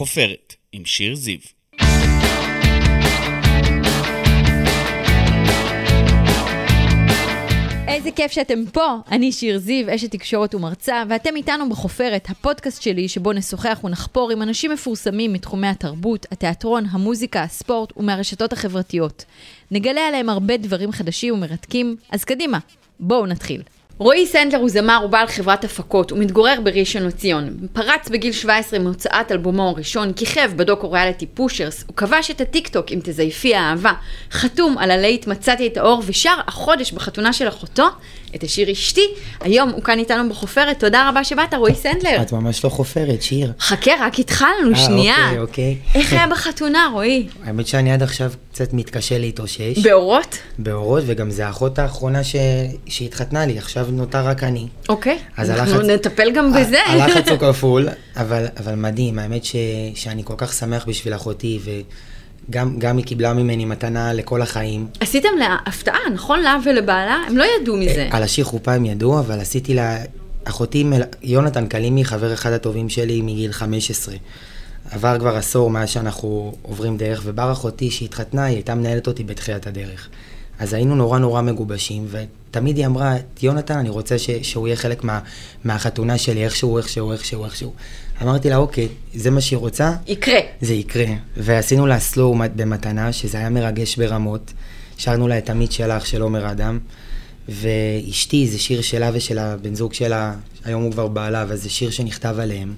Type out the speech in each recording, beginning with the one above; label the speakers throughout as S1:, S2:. S1: החופרת, עם שיר זיו.
S2: איזה כיף שאתם פה, אני שיר זיו, אשת תקשורת ומרצה, ואתם איתנו בחופרת, הפודקאסט שלי שבו נשוחח ונחפור עם אנשים מפורסמים מתחומי התרבות, התיאטרון, המוזיקה, הספורט ומהרשתות החברתיות. נגלה עליהם הרבה דברים חדשים ומרתקים, אז קדימה, בואו נתחיל. רועי סנדלר הוא זמר ובעל חברת הפקות, הוא מתגורר בראשון לציון. פרץ בגיל 17 עם הוצאת אלבומו הראשון, כיכב בדוקו ריאליטי פושרס, הוא כבש את הטיקטוק עם תזייפי האהבה, חתום על הלהיט מצאתי את האור, ושר החודש בחתונה של אחותו את השיר אשתי. היום הוא כאן איתנו בחופרת, תודה רבה שבאת, רועי סנדלר.
S3: את ממש לא חופרת, שיר.
S2: חכה, רק התחלנו,
S3: אה,
S2: שנייה.
S3: אוקיי, אוקיי.
S2: איך היה בחתונה, רועי?
S3: האמת שאני עד עכשיו קצת מתקשה להתאושש.
S2: באורות?
S3: באורות, וגם זה האחות האחרונה ש... שהתחתנה לי, עכשיו נותר רק אני.
S2: אוקיי.
S3: אז
S2: אנחנו
S3: הלחץ-
S2: נטפל גם
S3: ה-
S2: בזה.
S3: הלחץ הוא כפול, אבל, אבל מדהים, האמת ש... שאני כל כך שמח בשביל אחותי, וגם גם היא קיבלה ממני מתנה לכל החיים.
S2: עשיתם לה הפתעה, נכון? לה ולבעלה? הם לא ידעו מזה.
S3: אה, על השיר חופה הם ידעו, אבל עשיתי לה... אחותי, מל... יונתן קלימי, חבר אחד הטובים שלי מגיל 15. עבר כבר עשור מאז שאנחנו עוברים דרך, ובר אחותי שהתחתנה, היא הייתה מנהלת אותי בתחילת הדרך. אז היינו נורא נורא מגובשים, ותמיד היא אמרה, "את יונתן, אני רוצה ש... שהוא יהיה חלק מה... מהחתונה שלי, איכשהו, איכשהו, איכשהו, איכשהו. אמרתי לה, אוקיי, זה מה שהיא רוצה,
S2: יקרה.
S3: זה יקרה. ועשינו לה סלואו מת- במתנה, שזה היה מרגש ברמות. שרנו לה את עמית שלך של עומר אדם. ואשתי זה שיר שלה ושל הבן זוג שלה, היום הוא כבר בעלה, אבל זה שיר שנכתב עליהם.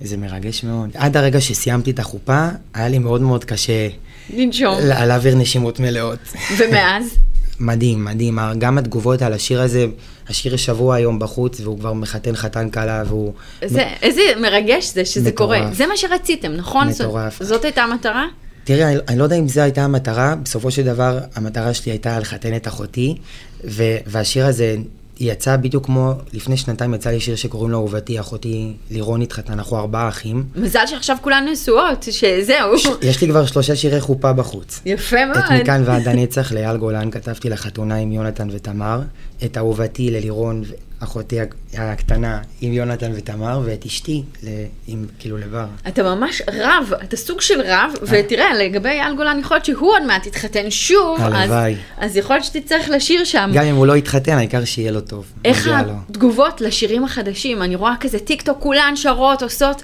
S3: זה מרגש מאוד. עד הרגע שסיימתי את החופה, היה לי מאוד מאוד קשה
S2: לנשום.
S3: לה- להעביר נשימות מלאות.
S2: ומאז?
S3: מדהים, מדהים. גם התגובות על השיר הזה, השיר שבוע היום בחוץ, והוא כבר מחתן חתן כלה, והוא...
S2: זה, איזה מרגש זה שזה
S3: מטורף.
S2: קורה. זה מה שרציתם, נכון? זאת-
S3: מטורף.
S2: זאת הייתה המטרה?
S3: תראה, אני, אני לא יודע אם זו הייתה המטרה, בסופו של דבר המטרה שלי הייתה לחתן את אחותי, ו, והשיר הזה יצא בדיוק כמו, לפני שנתיים יצא לי שיר שקוראים לו אהובתי, אחותי לירון התחתן, אנחנו ארבעה אחים.
S2: מזל שעכשיו כולן נשואות, שזהו.
S3: יש לי כבר שלושה שירי חופה בחוץ.
S2: יפה מאוד.
S3: את מכאן ועד הנצח לאייל גולן כתבתי לחתונה עם יונתן ותמר, את אהובתי ללירון, אחותי הק- הקטנה עם יונתן ותמר, ואת אשתי ל, עם, כאילו לבר.
S2: אתה ממש רב, אתה סוג של רב,
S3: אה.
S2: ותראה, לגבי אייל גולן, יכול להיות שהוא עוד מעט יתחתן שוב, אז-
S3: הלוואי.
S2: אז יכול להיות שתצטרך לשיר שם.
S3: גם אם הוא לא יתחתן, העיקר שיהיה לו טוב.
S2: Mm. איך
S3: מגיע לו.
S2: התגובות לשירים החדשים? אני רואה כזה טיק טוק, כולן שרות, עושות,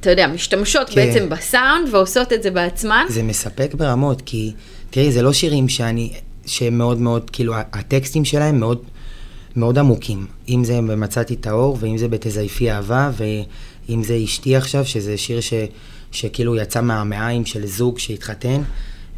S2: אתה יודע, משתמשות
S3: כן.
S2: בעצם בסאונד ועושות את זה בעצמן.
S3: זה מספק ברמות, כי תראי, זה לא שירים שאני, שהם מאוד מאוד, כאילו, ה- הטקסטים שלהם מאוד, מאוד עמוקים. אם זה במצאתי את האור, ואם זה בתזייפי אהבה, ואם זה אשתי עכשיו, שזה שיר ש, שכאילו יצא מהמעיים של זוג שהתחתן.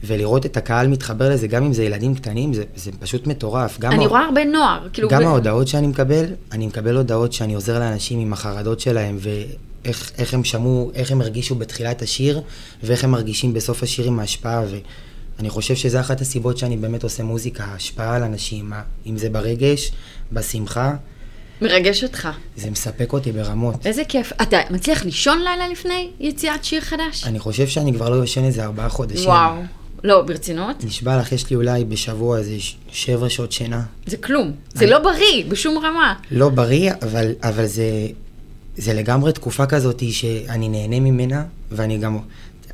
S3: ולראות את הקהל מתחבר לזה, גם אם זה ילדים קטנים, זה, זה פשוט מטורף. גם
S2: אני
S3: ה-
S2: רואה הרבה נוער, כאילו...
S3: גם
S2: ב-
S3: ההודעות שאני מקבל, אני מקבל הודעות שאני עוזר לאנשים עם החרדות שלהם, ואיך איך הם שמעו, איך הם הרגישו בתחילת השיר, ואיך הם מרגישים בסוף השיר עם ההשפעה, ואני חושב שזו אחת הסיבות שאני באמת עושה מוזיקה, ההשפעה על אנשים, ה- אם זה ברגש, בשמחה,
S2: מרגש אותך.
S3: זה מספק אותי ברמות.
S2: איזה כיף. אתה מצליח לישון לילה לפני יציאת שיר חדש?
S3: אני חושב שאני כבר לא יושן איזה ארבעה חודשים.
S2: וואו. לא, ברצינות?
S3: נשבע לך, יש לי אולי בשבוע איזה ש- שבע שעות שינה.
S2: זה כלום. זה לא בריא, בשום רמה.
S3: לא בריא, אבל, אבל זה, זה לגמרי תקופה כזאת שאני נהנה ממנה, ואני גם...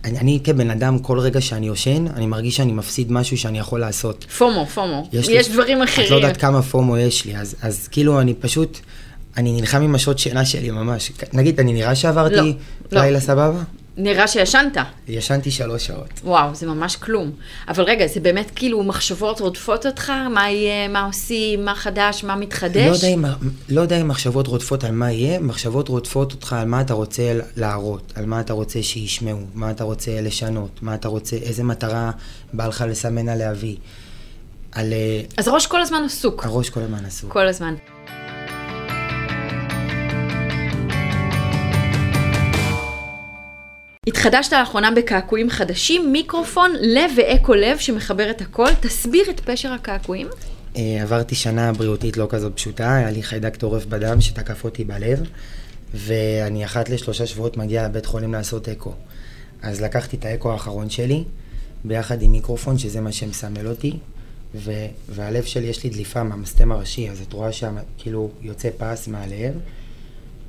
S3: אני, אני כבן אדם, כל רגע שאני יושן, אני מרגיש שאני מפסיד משהו שאני יכול לעשות.
S2: פומו, פומו. יש,
S3: לי-
S2: דברים
S3: את לא
S2: אחרים.
S3: יודעת כמה פומו יש לי, אז, אז כאילו אני פשוט... אני נלחם עם השעות שינה שלי ממש. נגיד, אני נראה שעברתי
S2: לא, לא.
S3: לילה סבבה?
S2: נראה שישנת.
S3: ישנתי שלוש שעות.
S2: וואו, זה ממש כלום. אבל רגע, זה באמת כאילו מחשבות רודפות אותך? מה יהיה, מה עושים, מה חדש, מה מתחדש?
S3: לא יודע, אם, לא יודע אם מחשבות רודפות על מה יהיה, מחשבות רודפות אותך על מה אתה רוצה להראות, על מה אתה רוצה שישמעו, מה אתה רוצה לשנות, מה אתה רוצה, איזה מטרה בא לך לסמן עליה וי. על אה,
S2: אז הראש כל הזמן עסוק.
S3: הראש כל הזמן עסוק.
S2: כל הזמן. התחדשת לאחרונה בקעקועים חדשים, מיקרופון, לב ואקו לב שמחבר את הכל. תסביר את פשר הקעקועים.
S3: אה, עברתי שנה בריאותית לא כזאת פשוטה, היה לי חיידק טורף בדם שתקף אותי בלב, ואני אחת לשלושה שבועות מגיע לבית חולים לעשות אקו. אז לקחתי את האקו האחרון שלי, ביחד עם מיקרופון, שזה מה שמסמל אותי, ו- והלב שלי, יש לי דליפה מהמסתם הראשי, אז את רואה שם כאילו יוצא פס מהלב,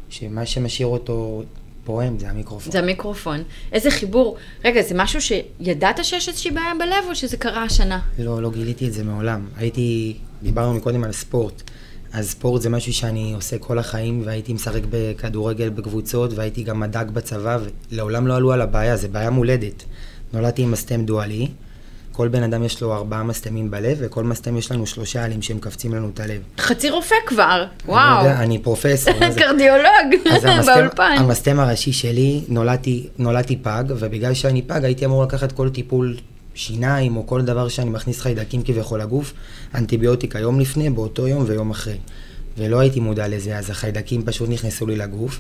S3: שמה שמשאיר אותו פועם, זה המיקרופון.
S2: זה המיקרופון. איזה חיבור. רגע, זה משהו שידעת שיש איזושהי בעיה בלב, או שזה קרה השנה?
S3: לא, לא גיליתי את זה מעולם. הייתי, דיברנו מקודם על ספורט. אז ספורט זה משהו שאני עושה כל החיים, והייתי משחק בכדורגל בקבוצות, והייתי גם מדג בצבא, ולעולם לא עלו על הבעיה, זו בעיה מולדת. נולדתי עם מסתם דואלי, כל בן אדם יש לו ארבעה מסתמים בלב, וכל מסתם יש לנו שלושה עלים שהם מכווצים לנו את הלב.
S2: חצי רופא כבר, וואו.
S3: אני, לא יודע, אני פרופסור. מה זה?
S2: קרדיולוג
S3: אז
S2: באולפן.
S3: המסתם הראשי שלי, נולדתי, נולדתי פג, ובגלל שאני פג הייתי אמור לקחת כל טיפול שיניים, או כל דבר שאני מכניס חיידקים כביכול לגוף, אנטיביוטיקה יום לפני, באותו יום ויום אחרי. ולא הייתי מודע לזה, אז החיידקים פשוט נכנסו לי לגוף,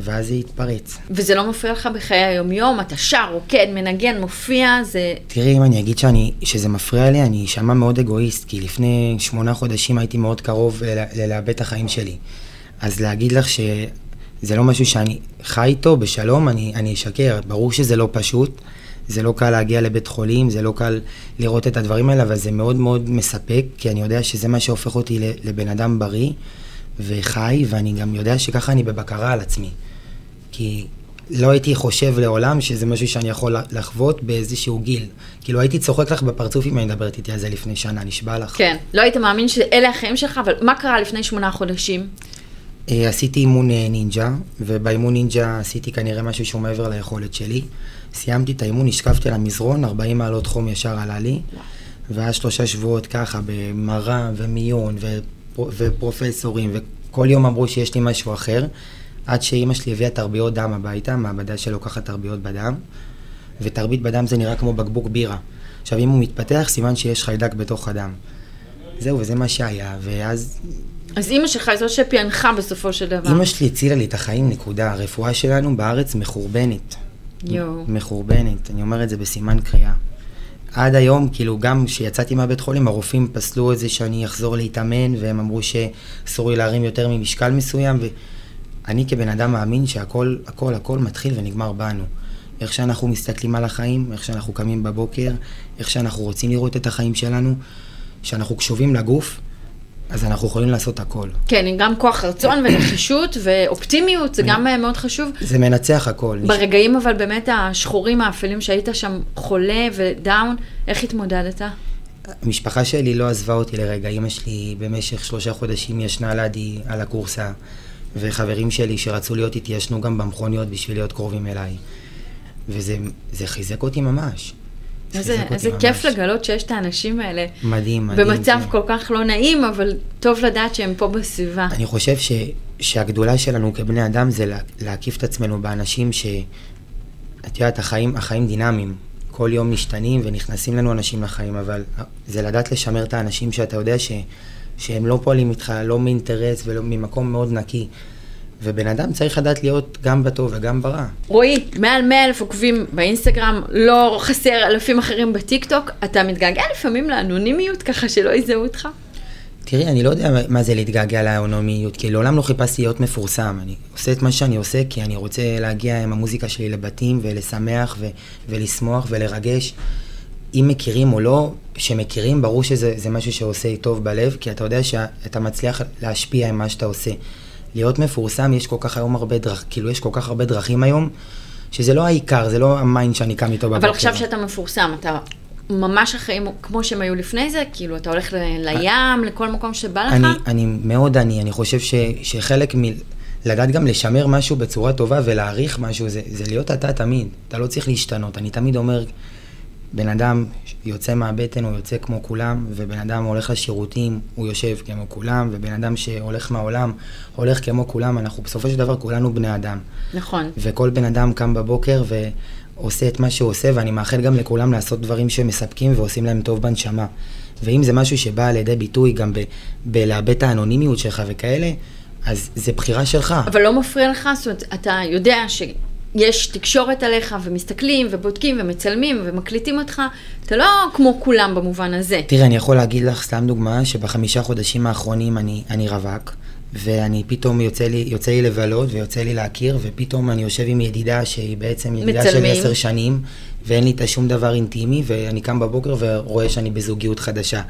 S3: ואז זה התפרץ.
S2: וזה לא מפריע לך בחיי היומיום, אתה שר, רוקד, מנגן, מופיע, זה...
S3: תראי, אם אני אגיד שאני, שזה מפריע לי, אני אשמע מאוד אגואיסט, כי לפני שמונה חודשים הייתי מאוד קרוב ל- ל- לאבד את החיים שלי. אז להגיד לך שזה לא משהו שאני חי איתו בשלום, אני, אני אשקר. ברור שזה לא פשוט, זה לא קל להגיע לבית חולים, זה לא קל לראות את הדברים האלה, אבל זה מאוד מאוד מספק, כי אני יודע שזה מה שהופך אותי ל- לבן אדם בריא וחי, ואני גם יודע שככה אני בבקרה על עצמי. כי לא הייתי חושב לעולם שזה משהו שאני יכול לחוות באיזשהו גיל. כאילו הייתי צוחק לך בפרצוף אם אני מדברת איתי על זה לפני שנה, נשבע לך.
S2: כן, לא היית מאמין שאלה החיים שלך, אבל מה קרה לפני שמונה חודשים?
S3: אה, עשיתי אימון אה, נינג'ה, ובאימון נינג'ה עשיתי כנראה משהו שהוא מעבר ליכולת שלי. סיימתי את האימון, השכבתי על המזרון, 40 מעלות חום ישר עלה לי, ואז שלושה שבועות ככה במראה ומיון ופר, ופרופסורים, וכל יום אמרו שיש לי משהו אחר, עד שאימא שלי הביאה תרביות דם הביתה, מעבדה שלוקחת תרביות בדם, ותרבית בדם זה נראה כמו בקבוק בירה. עכשיו, אם הוא מתפתח, סימן שיש חיידק בתוך הדם. זהו, וזה מה שהיה, ואז
S2: אז אימא שלך היא זו שפענחה בסופו של דבר.
S3: אימא שלי הצילה לי את החיים, נקודה. הרפואה שלנו בארץ מחורבנת.
S2: יואו.
S3: מחורבנת, אני אומר את זה בסימן קריאה. עד היום, כאילו, גם כשיצאתי מהבית חולים, הרופאים פסלו את זה שאני אחזור להתאמן, והם אמרו שאסור לי להרים יותר ממשקל מסוים, ואני כבן אדם מאמין שהכל, הכל, הכל מתחיל ונגמר בנו. איך שאנחנו מסתכלים על החיים, איך שאנחנו קמים בבוקר, איך שאנחנו רוצים לראות את החיים שלנו, כשאנחנו קשובים לגוף, אז אנחנו יכולים לעשות הכל.
S2: כן, עם גם כוח רצון ונחישות ואופטימיות, זה גם אה, מאוד חשוב.
S3: זה מנצח הכל. נש-
S2: ברגעים אבל באמת השחורים האפלים שהיית שם חולה ודאון, איך התמודדת?
S3: המשפחה שלי לא עזבה אותי לרגע. אימא שלי במשך שלושה חודשים ישנה לידי על הכורסה, וחברים שלי שרצו להיות איתי ישנו גם במכוניות בשביל להיות קרובים אליי. וזה זה חיזק אותי ממש. זה
S2: איזה,
S3: חיזק אותי
S2: איזה כיף
S3: ממש.
S2: לגלות שיש את האנשים האלה.
S3: מדהים, מדהים. כן.
S2: במצב
S3: זה-
S2: כל כך לא נעים, אבל טוב לדעת שהם פה בסביבה.
S3: אני חושב ש, שהגדולה שלנו כבני אדם זה לה, להקיף את עצמנו באנשים ש... את יודעת, החיים, החיים דינמיים. כל יום משתנים ונכנסים לנו אנשים לחיים, אבל זה לדעת לשמר את האנשים שאתה יודע ש, שהם לא פועלים איתך, לא מאינטרס ולא ממקום מאוד נקי. ובן אדם צריך לדעת להיות גם בטוב וגם ברע.
S2: רועי, מעל 100 אלף עוקבים באינסטגרם, לא חסר אלפים אחרים בטיקטוק, אתה מתגעגע לפעמים לאנונימיות ככה שלא יזהו אותך?
S3: תראי, אני לא יודע מה זה להתגעגע לאנונימיות, כי לעולם לא חיפשתי להיות מפורסם. אני עושה את מה שאני עושה, כי אני רוצה להגיע עם המוזיקה שלי לבתים, ולשמח, ו- ולשמוח, ולרגש. אם מכירים או לא, שמכירים, ברור שזה זה משהו שעושה טוב בלב, כי אתה יודע שאתה מצליח להשפיע עם מה שאתה עושה. להיות מפורסם, יש כל כך היום הרבה דרכים, כאילו יש כל כך הרבה דרכים היום, שזה לא העיקר, זה לא המיינד שאני קם איתו בבוקר.
S2: אבל עכשיו שאתה מפורסם, אתה ממש החיים כמו שהם היו לפני זה? כאילו, אתה הולך ל- לים, לכל מקום שבא לך?
S3: אני, אני מאוד עני, אני חושב ש, שחלק מ... לדעת גם לשמר משהו בצורה טובה ולהעריך משהו, זה, זה להיות אתה תמיד. אתה לא צריך להשתנות. אני תמיד אומר, בן אדם יוצא מהבטן, הוא יוצא כמו כולם, ובן אדם הולך לשירותים, הוא יושב כמו כולם, ובן אדם שהולך מהעולם, הולך כמו כולם. אנחנו בסופו של דבר כולנו בני אדם.
S2: נכון.
S3: וכל בן אדם קם בבוקר ועושה את מה שהוא עושה, ואני מאחל גם לכולם לעשות דברים שמספקים ועושים להם טוב בנשמה. ואם זה משהו שבא לידי ביטוי גם ב- בלאבד את האנונימיות שלך וכאלה, אז זה בחירה שלך.
S2: אבל לא מפריע לך? זאת אומרת, אתה יודע שיש תקשורת עליך, ומסתכלים, ובודקים, ומצלמים, ומקליטים אותך. אתה לא כמו כולם במובן הזה.
S3: תראה, אני יכול להגיד לך, סתם דוגמה, שבחמישה חודשים האחרונים אני, אני רווק, ואני פתאום יוצא לי, יוצא לי לבלות ויוצא לי להכיר, ופתאום אני יושב עם ידידה שהיא בעצם ידידה
S2: מצלמים.
S3: של עשר שנים, ואין לי איתה שום דבר אינטימי, ואני קם בבוקר ורואה שאני בזוגיות חדשה.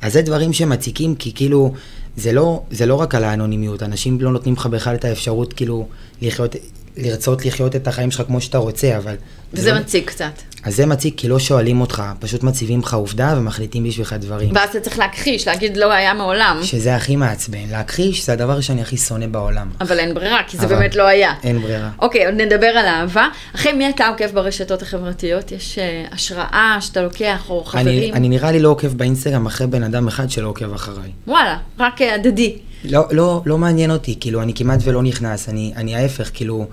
S3: אז זה דברים שמציקים, כי כאילו, זה לא, זה לא רק על האנונימיות, אנשים לא נותנים לך בכלל את האפשרות כאילו לחיות, לרצות לחיות את החיים שלך כמו שאתה רוצה, אבל...
S2: וזה
S3: לא-
S2: מציק קצת.
S3: אז זה מציק כי לא שואלים אותך, פשוט מציבים לך עובדה ומחליטים בשבילך דברים.
S2: ואז אתה צריך להכחיש, להגיד לא היה מעולם,
S3: שזה הכי מעצבן. להכחיש זה הדבר שאני הכי שונא בעולם.
S2: אבל אין ברירה, כי זה
S3: אבל-
S2: באמת לא היה.
S3: אין ברירה.
S2: אוקיי, עוד נדבר על אהבה. אחרי מי אתה עוקב ברשתות החברתיות? יש אה, השראה שאתה לוקח, או
S3: אני,
S2: חברים?
S3: אני נראה לי לא עוקב באינסטגרם אחרי בן אדם אחד שלא עוקב אחריי.
S2: וואלה, רק אה, הדדי.
S3: לא, לא, לא מעניין אותי, כאילו, אני כמעט ולא נכנס, אני, אני ההפך, כאילו,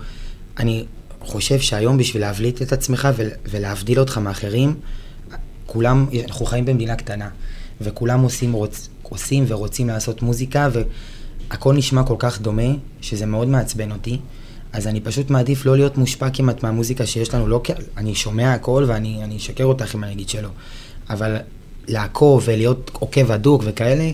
S3: אני חושב שהיום בשביל להבליט את עצמך ול, ולהבדיל אותך מאחרים, כולם, אנחנו חיים במדינה קטנה, וכולם עושים, רוצ, עושים ורוצים לעשות מוזיקה, והכל נשמע כל כך דומה, שזה מאוד מעצבן אותי. אז אני פשוט מעדיף לא להיות מושפע כמעט מהמוזיקה שיש לנו, לא, כי- אני שומע הכל ואני אני אשקר אותך אם אני אגיד שלא, אבל לעקוב ולהיות עוקב הדוק וכאלה,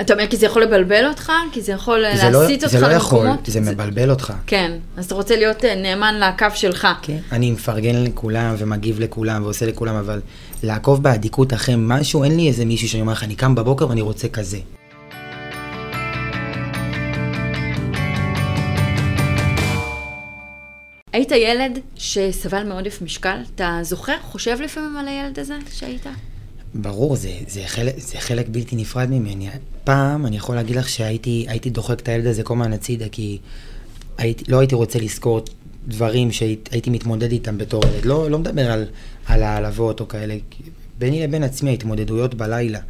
S2: אתה אומר כי זה יכול לבלבל אותך? כי זה יכול אה,
S3: זה לא,
S2: להסיט אותך
S3: זה לא יכול,
S2: למקומות?
S3: זה מבלבל אותך.
S2: כן, אז אתה רוצה להיות אה, נאמן לקו שלך.
S3: כן. אני מפרגן לכולם ומגיב לכולם ועושה לכולם, אבל לעקוב באדיקות אחרי משהו, אין לי איזה מישהו שאני אומר לך, אני קם בבוקר ואני רוצה כזה.
S2: היית ילד שסבל מעודף משקל? אתה זוכר? חושב לפעמים על הילד הזה שהיית?
S3: ברור, זה, זה, חלק, זה חלק בלתי נפרד ממני. פעם, אני יכול להגיד לך שהייתי הייתי דוחק את הילד הזה כל הזמן הצידה, כי הייתי, לא הייתי רוצה לזכור דברים שהייתי מתמודד איתם בתור ילד. לא, לא מדבר על, על העלבות או כאלה. כי ביני לבין עצמי, ההתמודדויות בלילה.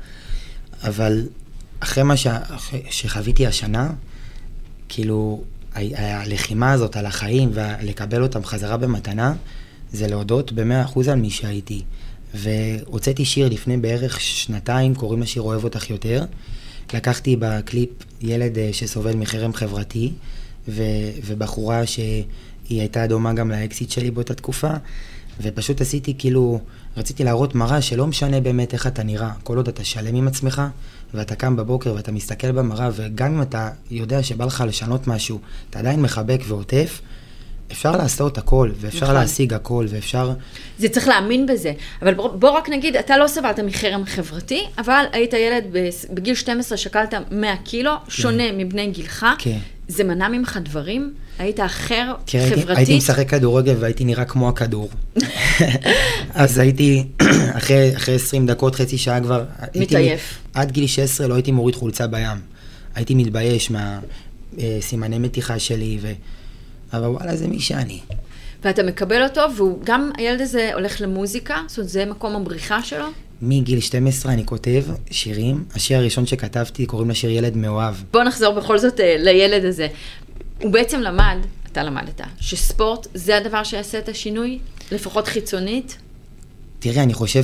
S3: אבל אחרי מה ש, אחרי, שחוויתי השנה, כאילו, ה- הלחימה הזאת על החיים ולקבל אותם חזרה במתנה, זה להודות ב-100% על מי שהייתי. והוצאתי שיר לפני בערך שנתיים, קוראים לשיר אוהב אותך יותר. לקחתי בקליפ ילד אה, שסובל מחרם חברתי, ו- ובחורה שהיא הייתה דומה גם לאקסיט שלי באותה תקופה, ופשוט עשיתי כאילו, רציתי להראות מראה שלא משנה באמת איך אתה נראה, כל עוד אתה שלם עם עצמך, ואתה קם בבוקר ואתה מסתכל במראה, וגם אם אתה יודע שבא לך לשנות משהו, אתה עדיין מחבק ועוטף, אפשר לעשות הכל, ואפשר
S2: נכון.
S3: נכון. להשיג הכל, ואפשר...
S2: זה צריך להאמין בזה. אבל בוא, בוא רק נגיד, אתה לא סבלת מחרם חברתי, אבל היית ילד בס- בגיל 12, שקלת 100 קילו, שונה מבני גילך.
S3: כן.
S2: זה מנע ממך דברים? היית אחר
S3: כי הייתי,
S2: חברתית?
S3: הייתי משחק כדורגל והייתי נראה כמו הכדור. אז הייתי, אחרי, אחרי 20 דקות, חצי שעה כבר... הייתי-
S2: מתעייף.
S3: עד גיל 16 לא הייתי מוריד חולצה בים. הייתי מתבייש מהסימני מתיחה שלי, ו... אבל וואלה, זה מי שאני.
S2: ואתה מקבל אותו, והוא גם, הילד הזה הולך למוזיקה, זאת אומרת, זה מקום הבריחה שלו.
S3: מגיל 12 אני כותב שירים. השיר הראשון שכתבתי, קוראים לשיר ילד מאוהב.
S2: בוא נחזור בכל זאת אה, לילד הזה. הוא בעצם למד, אתה למדת, שספורט זה הדבר שיעשה את השינוי, לפחות חיצונית.
S3: תראה, אני חושב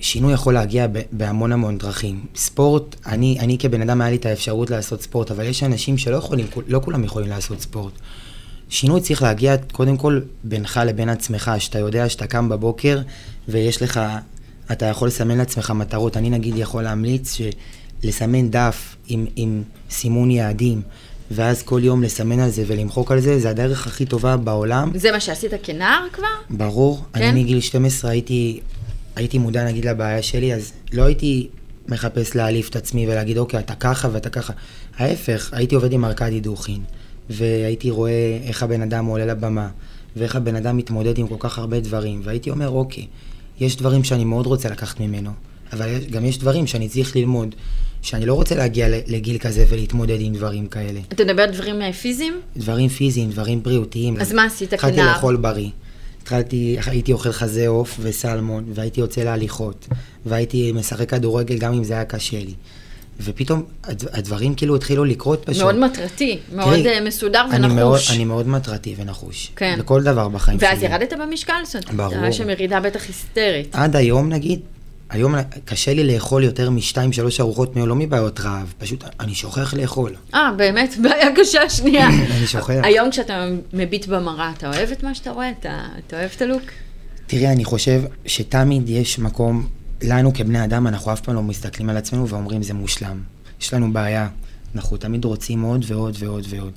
S3: ששינוי יכול להגיע ב- בהמון המון דרכים. ספורט, אני, אני כבן אדם היה לי את האפשרות לעשות ספורט, אבל יש אנשים שלא יכולים, לא כולם יכולים לעשות ספורט. שינוי צריך להגיע קודם כל בינך לבין עצמך, שאתה יודע שאתה קם בבוקר ויש לך, אתה יכול לסמן לעצמך מטרות. אני נגיד יכול להמליץ ש- לסמן דף עם, עם סימון יעדים, ואז כל יום לסמן על זה ולמחוק על זה, זה הדרך הכי טובה בעולם.
S2: זה מה שעשית כנער כבר?
S3: ברור.
S2: כן?
S3: כן? אני מגיל 12 הייתי, הייתי מודע נגיד לבעיה שלי, אז לא הייתי מחפש להעליב את עצמי ולהגיד, אוקיי, אתה ככה ואתה ככה. ההפך, הייתי עובד עם ארכדי דוכין, והייתי רואה איך הבן אדם עולה לבמה, ואיך הבן אדם מתמודד עם כל כך הרבה דברים, והייתי אומר, אוקיי, יש דברים שאני מאוד רוצה לקחת ממנו, אבל יש- גם יש דברים שאני צריך ללמוד, שאני לא רוצה להגיע ל- לגיל כזה ולהתמודד עם דברים כאלה.
S2: אתה מדבר על דברים אה, פיזיים?
S3: דברים פיזיים, דברים בריאותיים.
S2: אז מה עשית כנער?
S3: התחלתי לאכול בריא. התחלתי, הייתי אוכל חזה עוף וסלמון, והייתי יוצא להליכות, והייתי משחק כדורגל גם אם זה היה קשה לי. ופתאום הד- הדברים כאילו התחילו לקרות פשוט.
S2: מאוד מטרתי, מאוד
S3: תראי,
S2: אה, מסודר
S3: אני מאוד,
S2: ונחוש.
S3: אני מאוד מטרתי ונחוש.
S2: כן.
S3: בכל דבר בחיים שלי.
S2: ואז ירדת במשקל? זאת אומרת,
S3: ברור.
S2: היה שם ירידה בטח היסטרית.
S3: עד היום נגיד, היום קשה לי לאכול יותר משתיים, שלוש ארוחות מיום, לא מבעיות רעב, פשוט אני שוכח לאכול.
S2: אה, באמת, בעיה קשה שנייה.
S3: אני שוכח.
S2: היום כשאתה מביט במראה, אתה אוהב את מה שאתה רואה? אתה אתה אוהב את הלוק?
S3: תראה, אני חושב שתמיד יש מקום, לנו כבני אדם, אנחנו אף פעם לא מסתכלים על עצמנו ואומרים זה מושלם. יש לנו בעיה, אנחנו תמיד רוצים עוד ועוד ועוד ועוד.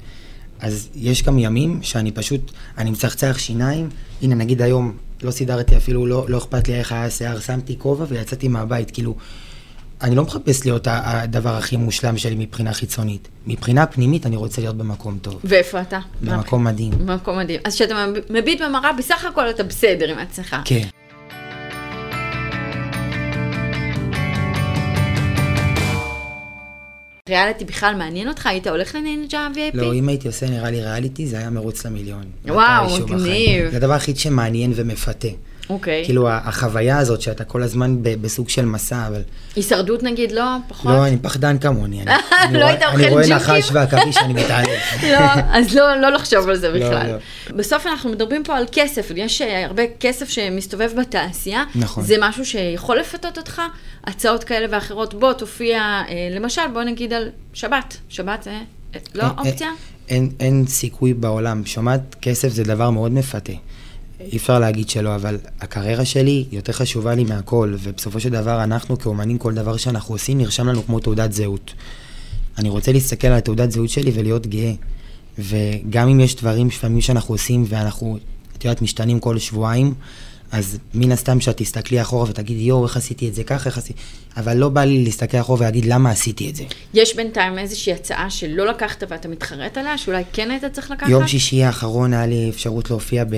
S3: אז יש גם ימים שאני פשוט, אני מצחצח שיניים, הנה נגיד היום לא סידרתי אפילו, לא, לא אכפת לי איך היה השיער, שמתי כובע ויצאתי מהבית, כאילו, אני לא מחפש להיות ה- הדבר הכי מושלם שלי מבחינה חיצונית. מבחינה פנימית אני רוצה להיות במקום טוב.
S2: ואיפה אתה?
S3: במקום מדהים.
S2: במקום מדהים. אז כשאתה מביט במראה, בסך הכל אתה בסדר עם עצמך.
S3: כן.
S2: ריאליטי בכלל מעניין אותך? היית הולך לנינג'ה VIP?
S3: לא, אם הייתי עושה נראה לי ריאליטי, זה היה מרוץ למיליון.
S2: אוקיי. וואו,
S3: מתישהו בחיים.
S2: מגניב.
S3: זה הדבר היחיד שמעניין ומפתה.
S2: אוקיי.
S3: כאילו, ה- החוויה הזאת שאתה כל הזמן ב- בסוג של מסע, אבל...
S2: הישרדות נגיד, לא? פחות?
S3: לא, אני פחדן כמוני. אני- אני
S2: לא
S3: רואה-
S2: היית אוכל
S3: אני רואה
S2: ג'יקים?
S3: נחש ועכביש, אני מתעלף.
S2: לא, אז לא, לא לחשוב על זה
S3: לא,
S2: בכלל.
S3: לא.
S2: בסוף אנחנו מדברים פה על כסף, יש אה, הרבה כסף שמסתובב בתעשייה.
S3: נכון.
S2: זה משהו שיכול לפתות אותך, הצעות כאלה ואחרות. בוא, תופיע, אה, למשל, בוא נגיד על שבת. שבת זה אה, לא
S3: אין-
S2: אופציה?
S3: אין, אין סיכוי בעולם. שומעת, כסף זה דבר מאוד מפתה. אי אפשר להגיד שלא, אבל הקריירה שלי יותר חשובה לי מהכל, ובסופו של דבר אנחנו כאומנים, כל דבר שאנחנו עושים נרשם לנו כמו תעודת זהות. אני רוצה להסתכל על תעודת זהות שלי ולהיות גאה. וגם אם יש דברים לפעמים שאנחנו עושים ואנחנו, את יודעת, משתנים כל שבועיים, אז מן הסתם שאת תסתכלי אחורה ותגידי, יואו, איך עשיתי את זה ככה, איך עשיתי... אבל לא בא לי להסתכל אחורה ולהגיד, למה עשיתי את זה?
S2: יש בינתיים איזושהי הצעה שלא לקחת ואתה מתחרט עליה, שאולי כן היית צריך לקחת?
S3: יום שישי האחרון היה לי אפשרות להופיע ב...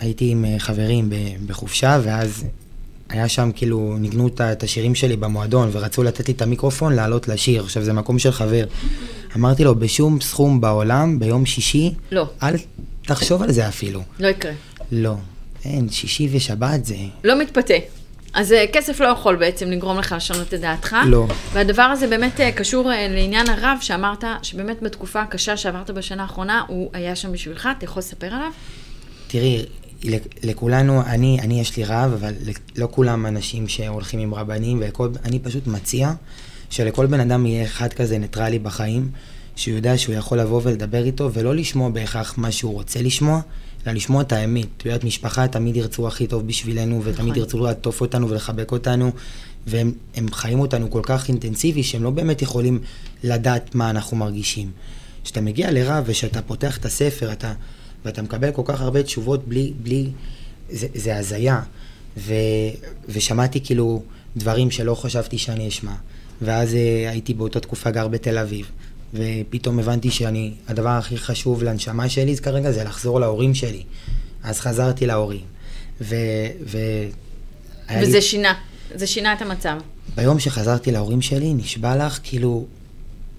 S3: הייתי עם אה, חברים ב... בחופשה, ואז היה שם כאילו, ניגנו את ה- את השירים שלי במועדון, ורצו לתת לי את המיקרופון לעלות לשיר. עכשיו, זה מקום של חבר. אמרתי לו, בשום סכום בעולם, ביום שישי,
S2: לא.
S3: אל תחשוב על זה אפילו.
S2: לא יקרה.
S3: לא. אין, שישי ושבת זה...
S2: לא מתפתה. אז אה, כסף לא יכול בעצם לגרום לך לשנות את דעתך.
S3: לא.
S2: והדבר הזה באמת אה, קשור אה, לעניין הרב שאמרת, שבאמת בתקופה הקשה שעברת בשנה האחרונה, הוא היה שם בשבילך, אתה יכול לספר עליו?
S3: תראי, לכ- לכולנו, אני, אני יש לי רב, אבל לכ- לא כולם אנשים שהולכים עם רבנים, ואני פשוט מציע שלכל בן אדם יהיה אחד כזה ניטרלי בחיים, שהוא יודע שהוא יכול לבוא ולדבר איתו, ולא לשמוע בהכרח מה שהוא רוצה לשמוע, אלא לשמוע את האמת. את יודעת, משפחה תמיד ירצו הכי טוב בשבילנו, ותמיד
S2: נכון.
S3: ירצו לעטוף אותנו ולחבק אותנו, והם הם חיים אותנו כל כך אינטנסיבי, שהם לא באמת יכולים לדעת מה אנחנו מרגישים. כשאתה מגיע לרב וכשאתה פותח את הספר, אתה, ואתה מקבל כל כך הרבה תשובות בלי... בלי זה, זה הזיה. ו, ושמעתי כאילו דברים שלא חשבתי שאני אשמע. ואז אה, הייתי באותה תקופה גר בתל אביב. ופתאום הבנתי שאני, הדבר הכי חשוב לנשמה שלי זה כרגע זה לחזור להורים שלי. אז חזרתי להורים. ו... ו... היה
S2: וזה
S3: לי-
S2: שינה, זה שינה את המצב.
S3: ביום שחזרתי להורים שלי, נשבע לך, כאילו,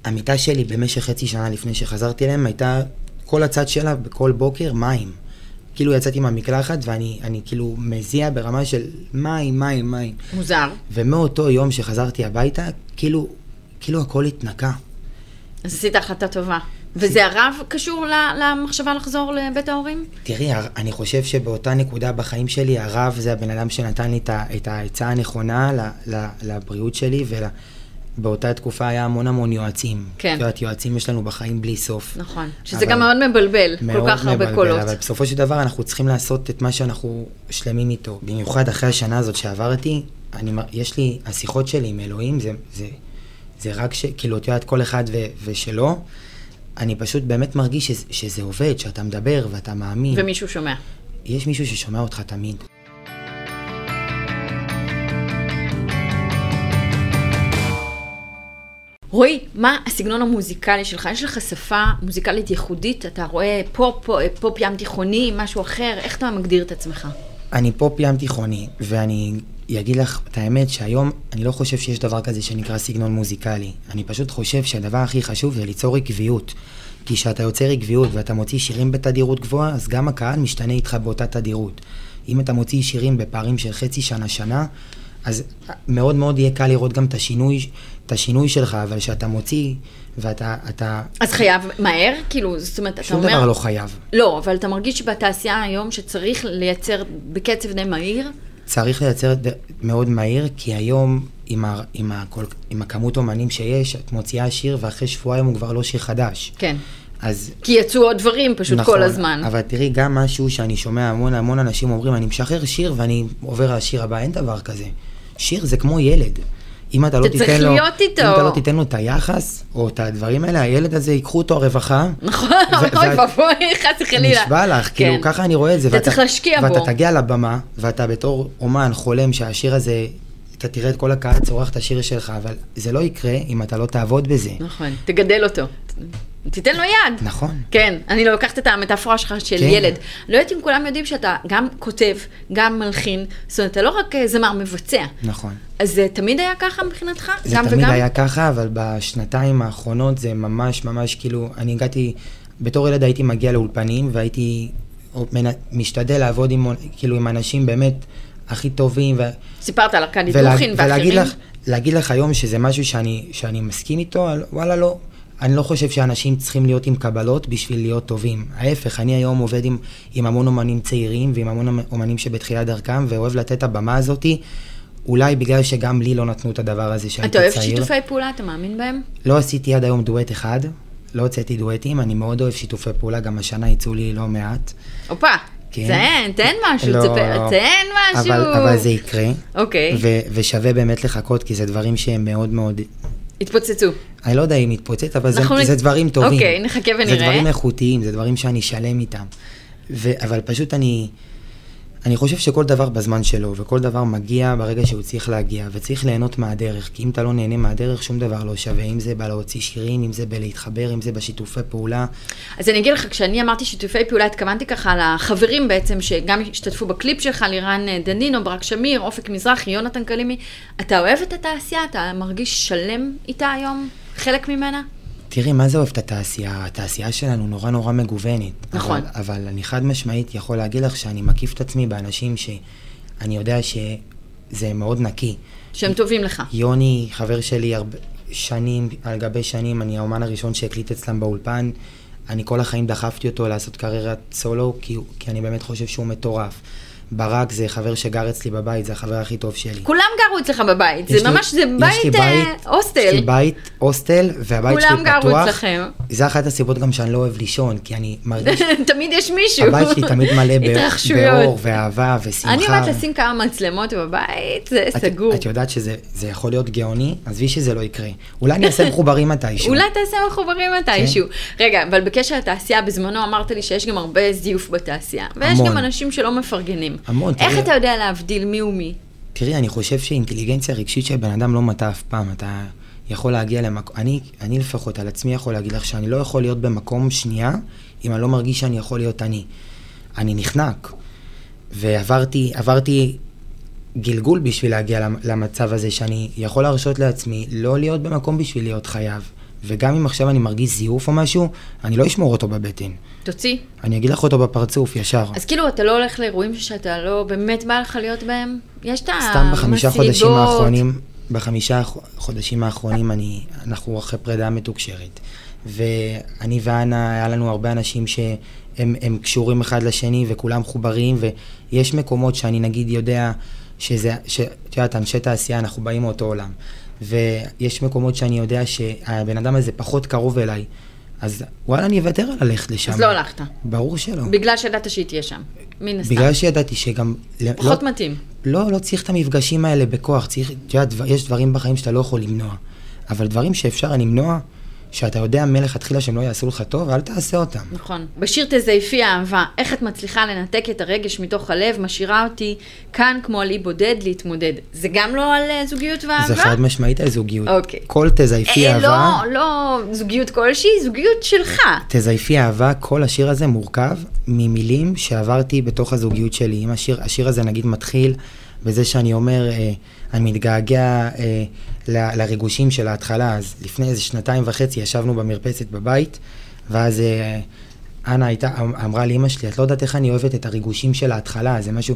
S3: המיטה שלי במשך חצי שנה לפני שחזרתי אליהם, הייתה כל הצד שלה, בכל בוקר, מים. כאילו יצאתי מהמקלחת ואני אני כאילו מזיע ברמה של מים, מים, מים.
S2: מוזר.
S3: ומאותו יום שחזרתי הביתה, כאילו, כאילו הכל התנקה.
S2: אז עשית החלטה טובה.
S3: כן.
S2: וזה הרב קשור ל- למחשבה לחזור לבית ההורים?
S3: תראי, הר- אני חושב שבאותה נקודה בחיים שלי, הרב זה הבן אדם שנתן לי את ה- את העצה הנכונה ל- ל- לבריאות שלי, ובאותה תקופה היה המון המון יועצים.
S2: כן.
S3: את יודעת, יועצים יש לנו בחיים בלי סוף.
S2: נכון. שזה
S3: אבל-
S2: גם מאוד מבלבל, כל כך הרבה
S3: מבלבל,
S2: קולות.
S3: אבל בסופו של דבר אנחנו צריכים לעשות את מה שאנחנו שלמים איתו. במיוחד אחרי השנה הזאת שעברתי, אני, מ- יש לי, השיחות שלי עם אלוהים, זה, זה, זה רק ש... כאילו, את יודעת, כל אחד ו, ושלו. אני פשוט באמת מרגיש שזה, שזה עובד, שאתה מדבר ואתה מאמין.
S2: ומישהו שומע.
S3: יש מישהו ששומע אותך תמיד.
S2: רועי, מה הסגנון המוזיקלי שלך? יש לך שפה מוזיקלית ייחודית? אתה רואה פופ, פופ, פופ ים תיכוני, משהו אחר? איך אתה מגדיר את עצמך?
S3: אני פופ ים תיכוני, ואני אגיד לך את האמת שהיום אני לא חושב שיש דבר כזה שנקרא סגנון מוזיקלי. אני פשוט חושב שהדבר הכי חשוב זה ליצור עקביות. כי כשאתה יוצר עקביות ואתה מוציא שירים בתדירות גבוהה, אז גם הקהל משתנה איתך באותה תדירות. אם אתה מוציא שירים בפערים של חצי שנה-שנה, אז מאוד מאוד יהיה קל לראות גם את השינוי, את השינוי שלך, אבל כשאתה מוציא ואתה... אתה,
S2: אז חייב מהר? כאילו, זאת אומרת, אתה
S3: שום
S2: אומר...
S3: דבר לא חייב.
S2: לא, אבל אתה מרגיש שבתעשייה היום שצריך לייצר בקצב די מהיר?
S3: צריך לייצר ד- מאוד מהיר, כי היום עם, ה... עם, ה... כל... עם הכמות אומנים שיש, את מוציאה שיר ואחרי שבועיים הוא כבר לא שיר חדש.
S2: כן.
S3: אז
S2: כי יצאו עוד דברים פשוט
S3: נכון,
S2: כל הזמן.
S3: אבל תראי, גם משהו שאני שומע המון המון אנשים אומרים, אני משחרר שיר ואני עובר לשיר הבא, אין דבר כזה. שיר זה כמו ילד. אם אתה לא
S2: אתה צריך
S3: תיתן לו,
S2: להיות איתו.
S3: אם אתה לא תיתן לו את היחס, או את הדברים האלה, הילד הזה, ייקחו אותו הרווחה,
S2: נכון,
S3: ו-
S2: אוי
S3: ואת-
S2: ואבוי, חס וחלילה.
S3: נשבע לך, כאילו
S2: כן.
S3: ככה אני רואה את זה.
S2: אתה
S3: ואתה-
S2: צריך להשקיע בו.
S3: ואתה תגיע לבמה, ואתה בתור אומן חולם שהשיר הזה אתה תראה את כל הקהל צורך את השיר שלך, אבל זה לא יקרה אם אתה לא תעבוד בזה.
S2: נכון, תגדל אותו. ת- תיתן לו יד.
S3: נכון.
S2: כן, אני לא לוקחת את המטאפורה שלך של
S3: כן.
S2: ילד. לא יודעת אם כולם יודעים שאתה גם כותב, גם מלחין, זאת אומרת, אתה לא רק אה, זמר מבצע.
S3: נכון.
S2: אז זה תמיד היה ככה מבחינתך?
S3: זה
S2: גם
S3: תמיד
S2: וגם?
S3: היה ככה, אבל בשנתיים האחרונות זה ממש ממש כאילו, אני הגעתי, בתור ילד הייתי מגיע לאולפנים והייתי מנ- משתדל לעבוד עם, כאילו, עם אנשים באמת הכי טובים. ו...
S2: סיפרת על ארכדי
S3: ולה-
S2: דוכין ואחרים.
S3: ולהגיד לך, להגיד לך היום שזה משהו שאני, שאני מסכים איתו, אבל וואלה לא. אני לא חושב שאנשים צריכים להיות עם קבלות בשביל להיות טובים. ההפך, אני היום עובד עם, עם המון אומנים צעירים ועם המון אומנים שבתחילת דרכם, ואוהב לתת את הבמה הזאתי, אולי בגלל שגם לי לא נתנו את הדבר הזה שהייתי
S2: אתה
S3: צעיר.
S2: אוהב שיתופי פעולה, אתה מאמין בהם?
S3: לא עשיתי עד היום דואט אחד, לא הוצאתי דואטים, אני מאוד אוהב שיתופי פעולה, גם השנה יצאו לי לא מעט.
S2: הופה,
S3: כן.
S2: תן, תן משהו,
S3: לא,
S2: תספר,
S3: לא.
S2: תן משהו.
S3: אבל, אבל זה יקרה,
S2: אוקיי,
S3: ו, ושווה באמת לחכות, כי זה דברים שהם מאוד מאוד
S2: התפוצצו.
S3: אני לא יודע אם מתפוצץ, אבל זה,
S2: אנחנו נ-
S3: זה דברים טובים.
S2: אוקיי, נחכה ונראה.
S3: זה דברים איכותיים, זה דברים שאני שלם איתם. ו- אבל פשוט אני... אני חושב שכל דבר בזמן שלו, וכל דבר מגיע ברגע שהוא צריך להגיע, וצריך ליהנות מהדרך, כי אם אתה לא נהנה מהדרך, שום דבר לא שווה, אם זה בלהוציא שירים, אם זה בלהתחבר, אם זה בשיתופי פעולה.
S2: אז אני אגיד לך, כשאני אמרתי שיתופי פעולה, התכוונתי ככה לחברים בעצם, שגם השתתפו בקליפ שלך, לירן אה, דנינו, ברק שמיר, אופק מזרחי, יונתן קלימי. אתה אוהב את התעשייה? אתה מרגיש שלם איתה היום? חלק ממנה?
S3: תראי, מה זה אוהב את התעשייה? התעשייה שלנו נורא נורא מגוונת.
S2: נכון.
S3: אבל, אבל אני חד משמעית יכול להגיד לך שאני מקיף את עצמי באנשים שאני יודע שזה מאוד נקי.
S2: שהם טובים לך.
S3: יוני, חבר שלי, הרבה, שנים על גבי שנים, אני האומן הראשון שהקליט אצלם באולפן. אני כל החיים דחפתי אותו לעשות קריירת סולו, כי, הוא- כי אני באמת חושב שהוא מטורף. ברק זה חבר שגר אצלי בבית, זה החבר הכי טוב שלי.
S2: כולם גרו אצלך בבית,
S3: יש
S2: זה
S3: לי-
S2: ממש, זה
S3: יש לי
S2: בית אה,
S3: יש לי
S2: הוסטל.
S3: בית הוסטל, והבית שלי
S2: כולם
S3: פתוח.
S2: גרו אצלכם.
S3: זה אחת הסיבות גם שאני לא אוהב לישון, כי אני מרגיש...
S2: תמיד יש מישהו.
S3: הבית שלי תמיד מלא באור-
S2: התרחשויות.
S3: באור ואהבה ושמחה.
S2: אני אומרת לשים כמה מצלמות בבית, זה
S3: את-
S2: סגור.
S3: את יודעת שזה זה יכול להיות גאוני, עזבי שזה לא יקרה. אולי אני אעשה מחוברים מתישהו.
S2: אולי תעשה מחוברים מתישהו.
S3: כן.
S2: רגע, אבל בקשר לתעשייה, בזמנו אמרת לי שיש גם הרבה זיוף בתעשייה. ויש
S3: המון.
S2: גם אנשים שלא מפרגנים.
S3: המון,
S2: איך
S3: תראה.
S2: אתה יודע להבדיל מי הוא מי?
S3: תראי, אני חושב שאינטליגנציה רגשית של בן אדם לא מתה אף פעם. אתה יכול להגיע למקום... אני, אני לפחות על עצמי יכול להגיד לך שאני לא יכול להיות במקום שנייה אם אני לא מרגיש שאני יכול להיות אני. אני נחנק. ועברתי עברתי גלגול בשביל להגיע למ- למצב הזה שאני יכול להרשות לעצמי לא להיות במקום בשביל להיות חייב. וגם אם עכשיו אני מרגיש זיוף או משהו, אני לא אשמור אותו בבטן.
S2: תוציא.
S3: אני אגיד לך אותו בפרצוף, ישר.
S2: אז כאילו, אתה לא הולך לאירועים שאתה לא באמת בא לך להיות בהם? יש את המסיבות.
S3: סתם בחמישה חודשים האחרונים, בחמישה ח- חודשים האחרונים אני, אנחנו אחרי פרידה מתוקשרת. ואני ואנה, היה לנו הרבה אנשים שהם הם קשורים אחד לשני וכולם חוברים, ויש מקומות שאני נגיד יודע שזה, ש- את יודעת, אנשי תעשייה, אנחנו באים מאותו עולם. ויש מקומות שאני יודע שהבן אדם הזה פחות קרוב אליי, אז וואלה, אני אוותר על ללכת לשם.
S2: אז לא הלכת.
S3: ברור שלא.
S2: בגלל שידעת שהיא תהיה שם. מן הסתם.
S3: בגלל שידעתי שגם... לא-
S2: פחות מתאים.
S3: לא, לא צריך את המפגשים האלה בכוח, צריך, את יודעת, דבר- יש דברים בחיים שאתה לא יכול למנוע. אבל דברים שאפשר למנוע, שאתה יודע מלכתחילה שהם לא יעשו לך טוב, אל תעשה אותם.
S2: נכון. בשיר תזייפי אהבה, איך את מצליחה לנתק את הרגש מתוך הלב, משאירה אותי כאן כמו על אי בודד להתמודד. זה גם לא על אה, זוגיות ואהבה?
S3: זה חד משמעית על זוגיות.
S2: אוקיי.
S3: כל תזייפי
S2: אה,
S3: אהבה,
S2: לא, לא זוגיות כלשהי, זוגיות שלך.
S3: תזייפי אהבה, כל השיר הזה מורכב ממילים שעברתי בתוך הזוגיות שלי. אם השיר, השיר הזה נגיד מתחיל בזה שאני אומר, אה, אני מתגעגע אה, ל- לריגושים של ההתחלה, אז לפני איזה שנתיים וחצי ישבנו במרפסת בבית, ואז אה, אנה הייתה, אמ-, אמרה לאימא שלי, את לא יודעת איך אני אוהבת את הריגושים של ההתחלה, זה משהו...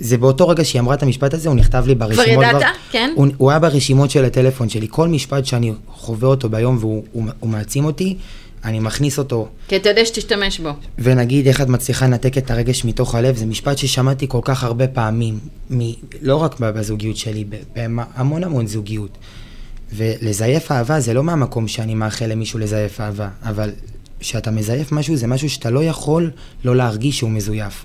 S3: זה באותו רגע שהיא אמרה את המשפט הזה, הוא נכתב לי ברשימות.
S2: ידעת? כן?
S3: הוא, הוא היה ברשימות של הטלפון שלי. כל משפט שאני חווה אותו ביום והוא הוא, הוא מעצים אותי, אני מכניס אותו.
S2: כי אתה יודע שתשתמש בו.
S3: ונגיד, איך את מצליחה לנתק את הרגש מתוך הלב, זה משפט ששמעתי כל כך הרבה פעמים, מ, לא רק ב- בזוגיות שלי, ב- בהמון המון זוגיות. ולזייף אהבה זה לא מהמקום שאני מאחל למישהו לזייף אהבה, אבל כשאתה מזייף משהו זה משהו שאתה לא יכול לא להרגיש שהוא מזויף.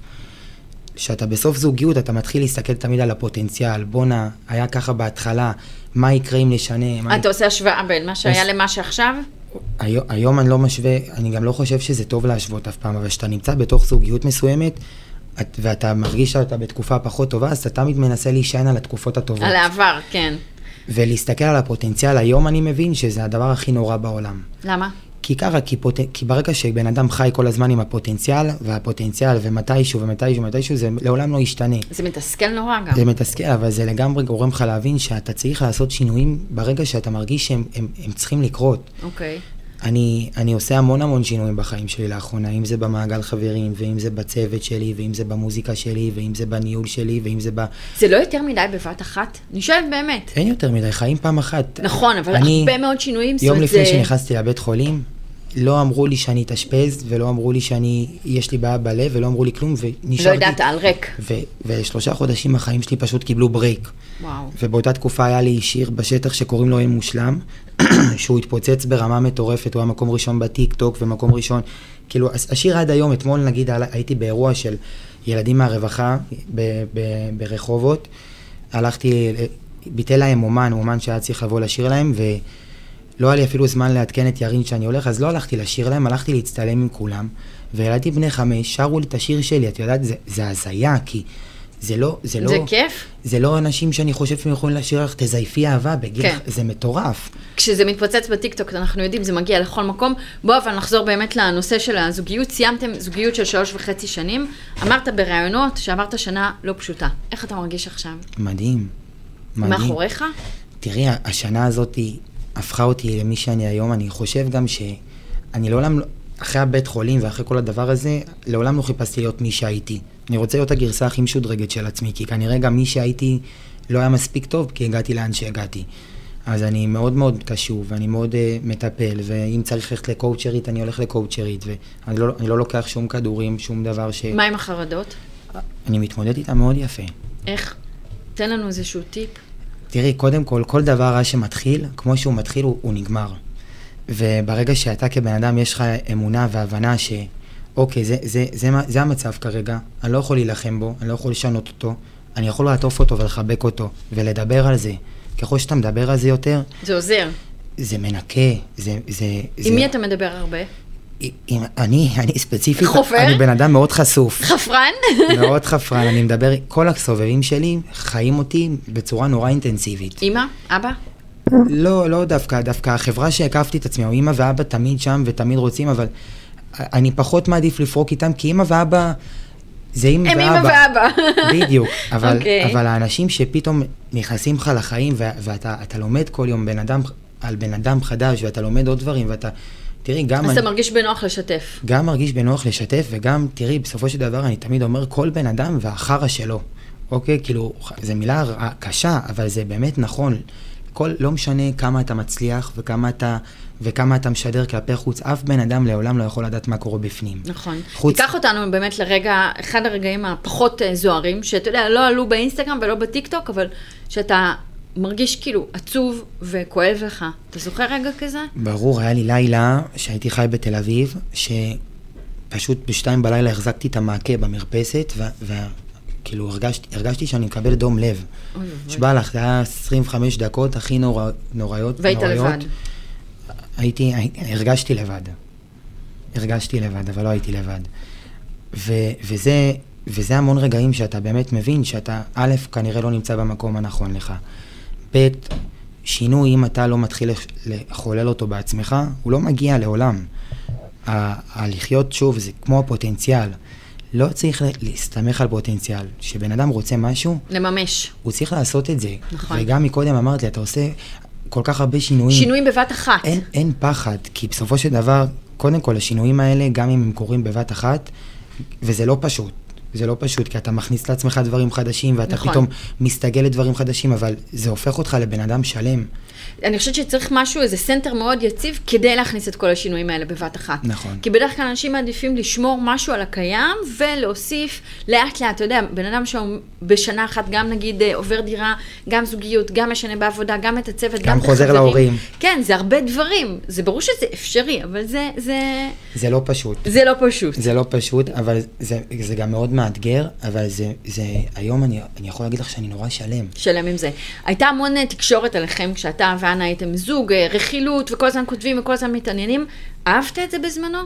S3: כשאתה בסוף זוגיות, אתה מתחיל להסתכל תמיד על הפוטנציאל. בואנה, היה ככה בהתחלה, מה יקרה אם נשנה? מה
S2: אתה עושה השוואה בין מה שהיה
S3: יש-
S2: למה שעכשיו?
S3: היום, היום אני לא משווה, אני גם לא חושב שזה טוב להשוות אף פעם, אבל כשאתה נמצא בתוך זוגיות מסוימת, את, ואתה מרגיש שאתה בתקופה פחות טובה, אז אתה תמיד מנסה להישען על התקופות הטובות.
S2: על העבר, כן.
S3: ולהסתכל על הפוטנציאל, היום אני מבין שזה הדבר הכי נורא בעולם.
S2: למה?
S3: כי ככה, כי, פוט... כי ברגע שבן אדם חי כל הזמן עם הפוטנציאל, והפוטנציאל, ומתישהו, ומתישהו, ומתישהו, זה לעולם לא ישתנה.
S2: זה מתסכל נורא גם.
S3: זה מתסכל, אבל זה לגמרי גורם לך להבין שאתה צריך לעשות שינויים ברגע שאתה מרגיש שהם הם, הם צריכים לקרות.
S2: אוקיי.
S3: אני, אני עושה המון המון שינויים בחיים שלי לאחרונה, אם זה במעגל חברים, ואם זה בצוות שלי, ואם זה במוזיקה שלי, ואם זה בניהול שלי, ואם זה ב...
S2: זה לא יותר מדי בבת אחת? אני שואלת באמת.
S3: אין יותר מדי, חיים פעם אחת.
S2: נכון, אבל
S3: אני-
S2: הרבה מאוד שינויים. זאת
S3: יום
S2: אומרת,
S3: לפני
S2: זה-
S3: שנכנסתי לבית חולים, לא אמרו לי שאני אתאשפז, ולא אמרו לי שאני, יש לי בעיה בלב, ולא אמרו לי כלום, ונשארתי...
S2: לא ידעת, על ריק.
S3: ו- ושלושה חודשים החיים שלי פשוט קיבלו ברייק.
S2: וואו.
S3: ובאותה תקופה היה לי שיר בשטח שקוראים לו אין מושלם, שהוא התפוצץ ברמה מטורפת, הוא היה מקום ראשון בטיק טוק ומקום ראשון, כאילו הש- השיר עד היום, אתמול נגיד עלה- הייתי באירוע של ילדים מהרווחה ב- ב- ברחובות, הלכתי, ל- ביטל להם אומן, אומן שהיה צריך לבוא לשיר להם, ולא היה לי אפילו זמן לעדכן את ירין שאני הולך, אז לא הלכתי לשיר להם, הלכתי להצטלם עם כולם, וילדים בני חמש שרו לי את השיר שלי, את יודעת, זה- זה הזיה, כי... זה לא, זה לא...
S2: זה כיף.
S3: זה לא אנשים שאני חושב שהם יכולים לשיר לך, תזייפי אהבה בגיל,
S2: כן.
S3: כן. זה מטורף.
S2: כשזה מתפוצץ בטיקטוק, אנחנו יודעים, זה מגיע לכל מקום. בוא, אבל נחזור באמת לנושא של הזוגיות. סיימתם זוגיות של שלוש וחצי שנים. אמרת בראיונות שעברת שנה לא פשוטה. איך אתה מרגיש עכשיו?
S3: מדהים. מדהים.
S2: מאחוריך?
S3: אה. תראי, השנה הזאת הפכה אותי למי שאני היום. אני חושב גם שאני לעולם, לא- אחרי הבית חולים ואחרי כל הדבר הזה, לעולם לא חיפשתי להיות מי שהייתי. אני רוצה להיות הגרסה הכי משודרגת של עצמי, כי כנראה גם מי שהייתי לא היה מספיק טוב, כי הגעתי לאן שהגעתי. אז אני מאוד מאוד קשוב, ואני מאוד uh, מטפל, ואם צריך ללכת לקואוצ'רית, אני הולך לקואוצ'רית, ואני לא, אני לא לוקח שום כדורים, שום דבר ש...
S2: מה עם החרדות?
S3: אני מתמודד איתה מאוד יפה.
S2: איך? תן לנו איזשהו טיפ.
S3: תראי, קודם כל, כל דבר רע שמתחיל, כמו שהוא מתחיל, הוא, הוא נגמר. וברגע שאתה כבן אדם, יש לך אמונה והבנה ש... אוקיי, זה, זה, זה, מה- זה המצב כרגע, אני לא יכול להילחם בו, אני לא יכול לשנות אותו, אני יכול לעטוף אותו ולחבק אותו, ולדבר על זה. ככל שאתה מדבר על זה יותר,
S2: זה עוזר.
S3: זה מנקה, זה... זה זה...
S2: עם מי אתה מדבר הרבה?
S3: עם, אני, אני ספציפית,
S2: חופר?
S3: אני בן אדם מאוד חשוף.
S2: חפרן?
S3: מאוד חפרן, אני מדבר, כל הסובבים שלי חיים אותי בצורה נורא אינטנסיבית.
S2: אמא? אבא?
S3: לא, לא דווקא, דווקא החברה שהקפתי את עצמי, או אמא ואבא תמיד שם ותמיד רוצים, אבל אני פחות מעדיף לפרוק איתם, כי אמא ואבא זה אמא
S2: הם
S3: ואבא.
S2: אמא ואבא.
S3: בדיוק, אבל,
S2: אוקיי.
S3: okay. אבל האנשים שפתאום נכנסים לך לחיים, ו- ואתה אתה לומד כל יום בן אדם, על בן אדם חדש, ואתה לומד עוד דברים, ואתה, תראי, גם
S2: אז
S3: אני...
S2: אתה מרגיש בנוח לשתף.
S3: גם מרגיש בנוח לשתף, וגם, תראי, בסופו של דבר אני תמיד אומר, כל בן אדם והחרא שלו. אוקיי? כאילו, ח- זו מילה רע- קשה, אבל זה באמת נכון. כל, לא משנה כמה אתה מצליח וכמה אתה, וכמה אתה משדר כלפי חוץ, אף בן אדם לעולם לא יכול לדעת מה קורה בפנים.
S2: נכון.
S3: חוץ-
S2: תיקח אותנו באמת לרגע, אחד הרגעים הפחות אה, זוהרים, שאתה יודע, לא עלו באינסטגרם ולא בטיקטוק, אבל שאתה מרגיש כאילו עצוב וכואב לך. אתה זוכר רגע כזה?
S3: ברור, היה לי לילה שהייתי חי בתל אביב, שפשוט בשתיים בלילה החזקתי את המעקה במרפסת, וכאילו הרגשתי, הרגשתי שאני מקבל דום לב.
S2: אוי ואבוי.
S3: נשבע לך, זה היה 25 דקות הכי נורא, נוראיות.
S2: והיית
S3: נוראיות.
S2: לבד.
S3: הייתי, הי- הרגשתי לבד. הרגשתי לבד, אבל לא הייתי לבד. ו, וזה, וזה המון רגעים שאתה באמת מבין שאתה, א', כנראה לא נמצא במקום הנכון לך. ב', שינוי, אם אתה לא מתחיל לח- לחולל אותו בעצמך, הוא לא מגיע לעולם. ה- הלחיות שוב זה כמו הפוטנציאל. לא צריך לה- להסתמך על פוטנציאל. כשבן אדם רוצה משהו,
S2: לממש.
S3: הוא צריך לעשות את זה.
S2: נכון.
S3: וגם מקודם אמרת לי, אתה עושה כל כך הרבה שינויים.
S2: שינויים בבת אחת.
S3: אין, אין פחד, כי בסופו של דבר, קודם כל, השינויים האלה, גם אם הם קורים בבת אחת, וזה לא פשוט. זה לא פשוט, כי אתה מכניס לעצמך דברים חדשים, ואתה
S2: נכון.
S3: נכון. פתאום מסתגל לדברים חדשים, אבל זה הופך אותך לבן אדם שלם.
S2: אני חושבת שצריך משהו, איזה סנטר מאוד יציב, כדי להכניס את כל השינויים האלה בבת אחת.
S3: נכון.
S2: כי בדרך כלל אנשים מעדיפים לשמור משהו על הקיים, ולהוסיף לאט לאט, אתה יודע, בן אדם שבשנה אחת גם נגיד אה, עובר דירה, גם זוגיות, גם משנה בעבודה, גם את הצוות, גם,
S3: גם
S2: את
S3: חוזר
S2: החברים.
S3: להורים.
S2: כן, זה הרבה דברים. זה ברור שזה אפשרי, אבל זה, זה,
S3: זה לא פשוט.
S2: זה לא פשוט.
S3: זה לא פשוט, אבל זה, זה גם מאוד מאתגר, אבל זה, זה היום אני, אני יכול להגיד לך שאני נורא שלם.
S2: שלם עם זה. הייתה המון אה, תקשורת עליכם כשאתה ואנה הייתם זוג, אה, רכילות, וכל הזמן כותבים וכל הזמן מתעניינים. אהבת את זה בזמנו?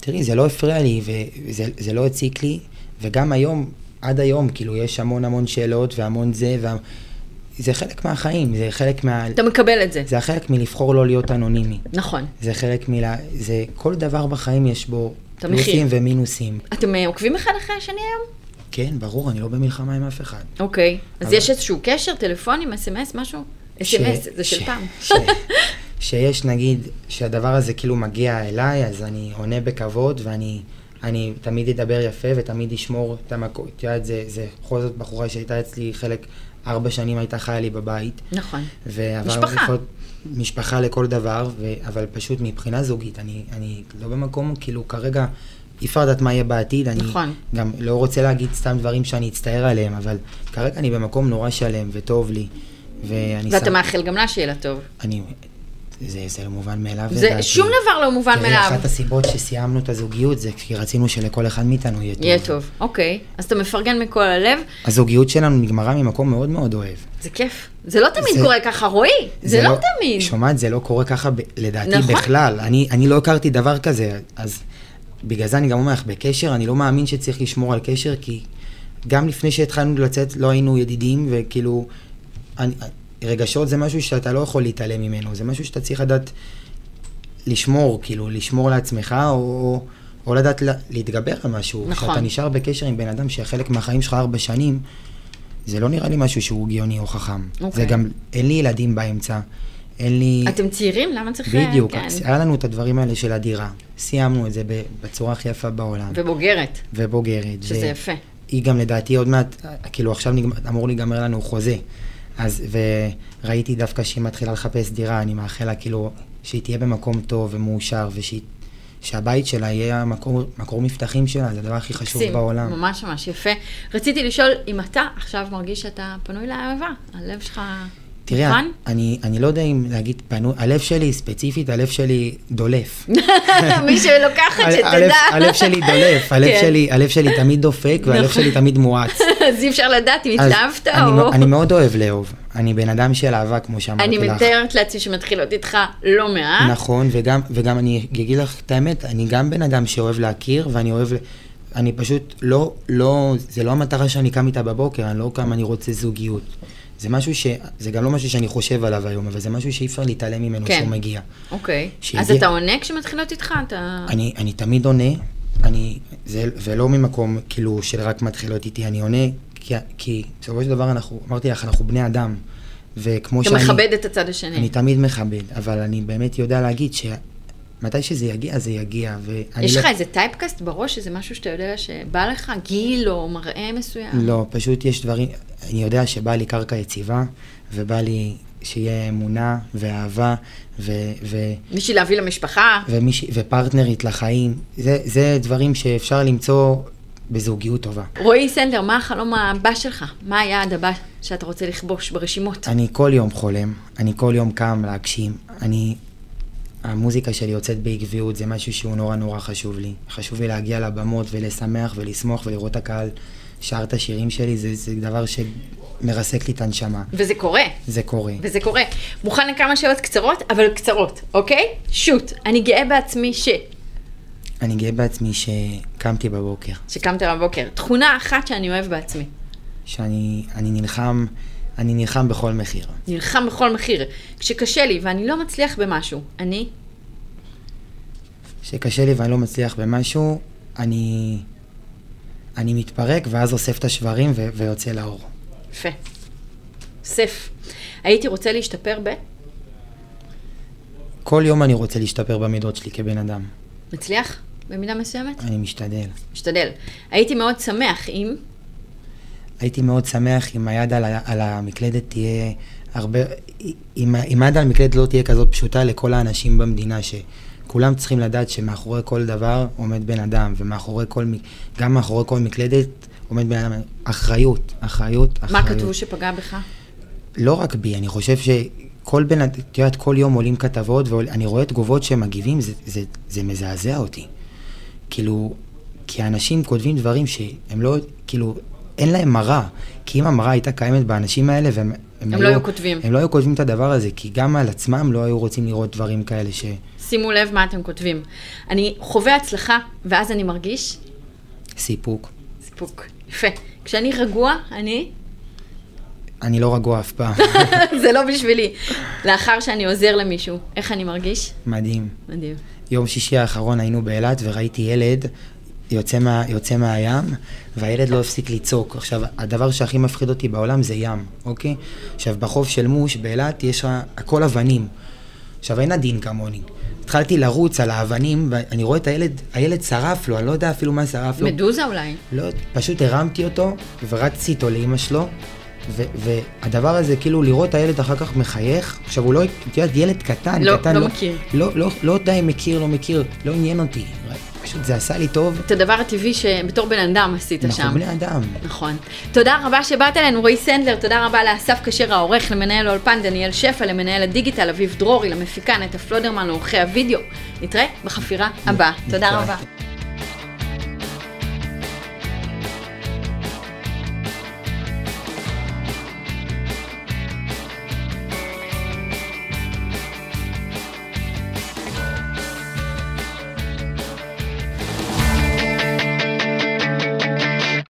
S3: תראי, זה לא הפריע לי, וזה זה לא הציק לי, וגם היום, עד היום, כאילו, יש המון המון שאלות והמון זה, וה... זה חלק מהחיים, זה חלק מה...
S2: אתה מקבל את זה.
S3: זה החלק מלבחור לא להיות אנונימי.
S2: נכון.
S3: זה חלק מלה... זה כל דבר בחיים יש בו
S2: את המחיר.
S3: פלוסים ומינוסים.
S2: אתם אה, עוקבים אחד אחרי השני היום?
S3: כן, ברור, אני לא במלחמה עם אף אחד.
S2: אוקיי. אז
S3: אבל-
S2: יש איזשהו קשר, טלפונים, אס.אם.אס, משהו? אס.אם.אס, זה של פעם.
S3: ש- שיש נגיד, שהדבר הזה כאילו מגיע אליי, אז אני עונה בכבוד, ואני אני תמיד אדבר יפה ותמיד אשמור את המקום. את יודעת, זה, זה בכל זאת בחורה שהייתה אצלי חלק, ארבע שנים הייתה חיה לי בבית.
S2: נכון.
S3: ועברנו
S2: משפחה.
S3: לפחות- משפחה לכל דבר, ו... אבל פשוט מבחינה זוגית, אני, אני לא במקום, כאילו כרגע, אי אפשר לדעת מה יהיה בעתיד, אני
S2: נכון.
S3: גם לא רוצה להגיד סתם דברים שאני אצטער עליהם, אבל כרגע אני במקום נורא שלם וטוב לי, ואני
S2: ואתה
S3: שם-
S2: מאחל גם לה שיהיה לה טוב.
S3: אני... זה, זה לא מובן מאליו.
S2: זה
S3: לדעתי.
S2: שום דבר לא מובן
S3: תראי,
S2: מאליו.
S3: כן, אחת הסיבות שסיימנו את הזוגיות זה כי רצינו שלכל אחד מאיתנו יהיה טוב.
S2: יהיה טוב. אוקיי. אז אתה מפרגן מכל הלב,
S3: הזוגיות שלנו נגמרה ממקום מאוד מאוד אוהב.
S2: זה כיף. זה לא תמיד
S3: זה-
S2: קורה ככה, רועי. זה לא תמיד.
S3: שומעת, זה לא קורה ככה ב- לדעתי
S2: נכון.
S3: נכון. בכלל. אני, אני לא הכרתי דבר כזה, אז בגלל זה אני גם אומר לך, בקשר, אני לא מאמין שצריך לשמור על קשר, כי גם לפני שהתחלנו לצאת לא היינו ידידים, וכאילו, אני, רגשות זה משהו שאתה לא יכול להתעלם ממנו, זה משהו שאתה צריך לדעת לשמור, כאילו, לשמור לעצמך, או... או או לדעת לה- להתגבר על משהו.
S2: נכון.
S3: כשאתה נשאר בקשר עם בן אדם שחלק מהחיים שלך ארבע שנים, זה לא נראה לי משהו שהוא גאוני או חכם.
S2: אוקיי.
S3: זה גם, אין לי ילדים באמצע, אין לי...
S2: אתם צעירים, למה צריך...
S3: בדיוק, אה,
S2: כן.
S3: היה לנו את הדברים האלה של הדירה. סיימנו את זה ב- בצורה הכי יפה בעולם,
S2: ובוגרת,
S3: ובוגרת. ו-
S2: שזה יפה.
S3: היא גם לדעתי עוד מעט, כאילו עכשיו נגמ- אמור להיגמר לנו חוזה. אז, וראיתי דווקא שהיא מתחילה לחפש דירה, אני מאחל לה כאילו שהיא תהיה במקום טוב ומאושר, ושהיא- שהבית שלה יהיה המקור מקור מבטחים שלה, זה הדבר הכי חשוב
S2: מקסים,
S3: בעולם.
S2: ממש ממש יפה. רציתי לשאול אם אתה עכשיו מרגיש שאתה פנוי לאהבה, הלב שלך
S3: תראה,
S2: מוכן?
S3: אני, אני לא יודע אם להגיד פנו, הלב שלי ספציפית, הלב שלי דולף.
S2: מי שלוקחת
S3: ה- הלב-
S2: שתדע.
S3: הלב שלי דולף, הלב
S2: כן.
S3: שלי- הלב שלי תמיד דופק והלב
S2: נכון.
S3: שלי תמיד מואץ.
S2: אז אי אפשר לדעת אם
S3: אז
S2: התלהבת
S3: אני
S2: או...
S3: מ- אני מאוד אוהב לאהוב, אני בן אדם של אהבה כמו שאמרתי
S2: אני
S3: לך.
S2: מתארת לעצמי שמתחילות איתך לא מעט.
S3: נכון, וגם, וגם אני אגיד לך את האמת, אני גם בן אדם שאוהב להכיר, ואני אוהב, ל- אני פשוט לא, לא, זה לא המטרה שאני קם איתה בבוקר, אני לא קם, אני רוצה זוגיות. זה משהו ש... זה גם לא משהו שאני חושב עליו היום, אבל זה משהו שאי אפשר להתעלם ממנו
S2: כן.
S3: שהוא מגיע.
S2: אוקיי.
S3: שהגיע-
S2: אז אתה עונה כשמתחילות איתך? אתה...
S3: אני, אני תמיד עונה, אני, זה, ולא ממקום כאילו של רק מתחילות איתי, אני עונה, כי, כי בסופו של דבר אנחנו, אמרתי לך, אנחנו בני אדם, וכמו
S2: אתה
S3: שאני...
S2: מכבד את הצד
S3: אני
S2: השני.
S3: תמיד מכבד, אבל אני באמת יודע להגיד שמתי שזה יגיע, זה יגיע, ואני
S2: יש
S3: לא...
S2: לך איזה טייפקאסט בראש, איזה משהו שאתה יודע שבא לך, גיל או מראה מסוים?
S3: לא, פשוט יש דברים, אני יודע שבא לי קרקע יציבה, ובא לי שיהיה אמונה, ואהבה, ו... ו...
S2: מישהי להביא למשפחה?
S3: ומישהי- ופרטנרית לחיים, זה, זה דברים שאפשר למצוא בזוגיות טובה.
S2: רועי סנדר, מה החלום הבא שלך? מה היעד הבא שאתה רוצה לכבוש ברשימות?
S3: אני כל יום חולם, אני כל יום קם להגשים. אני... המוזיקה שלי יוצאת בעקביות, זה משהו שהוא נורא נורא חשוב לי. חשוב לי להגיע לבמות ולשמח ולשמוח ולראות את הקהל שר את השירים שלי, זה, זה דבר שמרסק לי את הנשמה.
S2: וזה קורה,
S3: זה קורה.
S2: וזה קורה. מוכן לכמה שאלות קצרות, אבל קצרות, אוקיי? שוט, אני גאה בעצמי ש...
S3: אני גאה בעצמי שקמתי בבוקר,
S2: שקמת בבוקר. תכונה אחת שאני אוהב בעצמי.
S3: שאני אני נלחם, אני נלחם בכל מחיר.
S2: נלחם בכל מחיר. כשקשה לי ואני לא מצליח במשהו, אני...
S3: שקשה לי ואני לא מצליח במשהו, אני, אני מתפרק ואז אוסף את השברים ו- ויוצא לאור.
S2: יפה. סף. הייתי רוצה להשתפר ב...
S3: כל יום אני רוצה להשתפר במידות שלי כבן אדם.
S2: מצליח? במידה מסוימת?
S3: אני משתדל.
S2: משתדל. הייתי מאוד שמח אם...
S3: הייתי מאוד שמח אם היד על, ה- על המקלדת תהיה הרבה... אם, ה- אם היד על המקלדת לא תהיה כזאת פשוטה לכל האנשים במדינה, שכולם צריכים לדעת שמאחורי כל דבר עומד בן אדם, ומאחורי כל... מק- גם מאחורי כל מקלדת עומד בן אדם. אחריות, אחריות, אחריות.
S2: מה כתבו שפגע בך?
S3: לא רק בי, אני חושב שכל בן אדם, את יודעת, כל יום עולים כתבות ואני רואה תגובות שהם מגיבים, זה, זה, זה מזעזע אותי. כאילו, כי האנשים כותבים דברים שהם לא, כאילו, אין להם מראה. כי אם המראה הייתה קיימת באנשים האלה, והם הם
S2: לא היו כותבים.
S3: הם לא היו כותבים את הדבר הזה, כי גם על עצמם לא היו רוצים לראות דברים כאלה ש...
S2: שימו לב מה אתם כותבים. אני חווה הצלחה, ואז אני מרגיש
S3: סיפוק,
S2: איפוק. יפה. כשאני רגוע, אני...
S3: אני לא רגוע אף פעם.
S2: זה לא בשבילי. לאחר שאני עוזר למישהו, איך אני מרגיש?
S3: מדהים.
S2: מדהים.
S3: יום שישי האחרון היינו באילת וראיתי ילד יוצא, מה, יוצא מהים, והילד לא הפסיק לצעוק. עכשיו, הדבר שהכי מפחיד אותי בעולם זה ים, אוקיי? עכשיו, בחוף של מוש, באילת, יש ה- הכל אבנים. עכשיו, אין עדין כמוני. התחלתי לרוץ על האבנים, ואני רואה את הילד, הילד שרף לו, אני לא יודע אפילו מה שרף לו.
S2: מדוזה אולי.
S3: לא, פשוט הרמתי אותו, ורצתי איתו לאימא שלו, ו- והדבר הזה, כאילו לראות את הילד אחר כך מחייך, עכשיו הוא לא, את יודעת, ילד קטן,
S2: לא,
S3: קטן,
S2: לא מכיר.
S3: לא, לא, לא די מכיר, לא מכיר, לא עניין אותי, פשוט זה עשה לי טוב,
S2: את הדבר הטבעי שבתור בן אדם עשית
S3: אנחנו
S2: שם.
S3: בני אדם.
S2: נכון. תודה רבה שבאת אלינו, רועי סנדלר, תודה רבה לאסף כשר העורך, למנהל האולפן דניאל שפע, למנהל הדיגיטל אביב דרורי, למפיקה נטע פלודרמן, לעורכי הוידאו. נתראה בחפירה הבאה. תודה
S3: נתראה.
S2: רבה.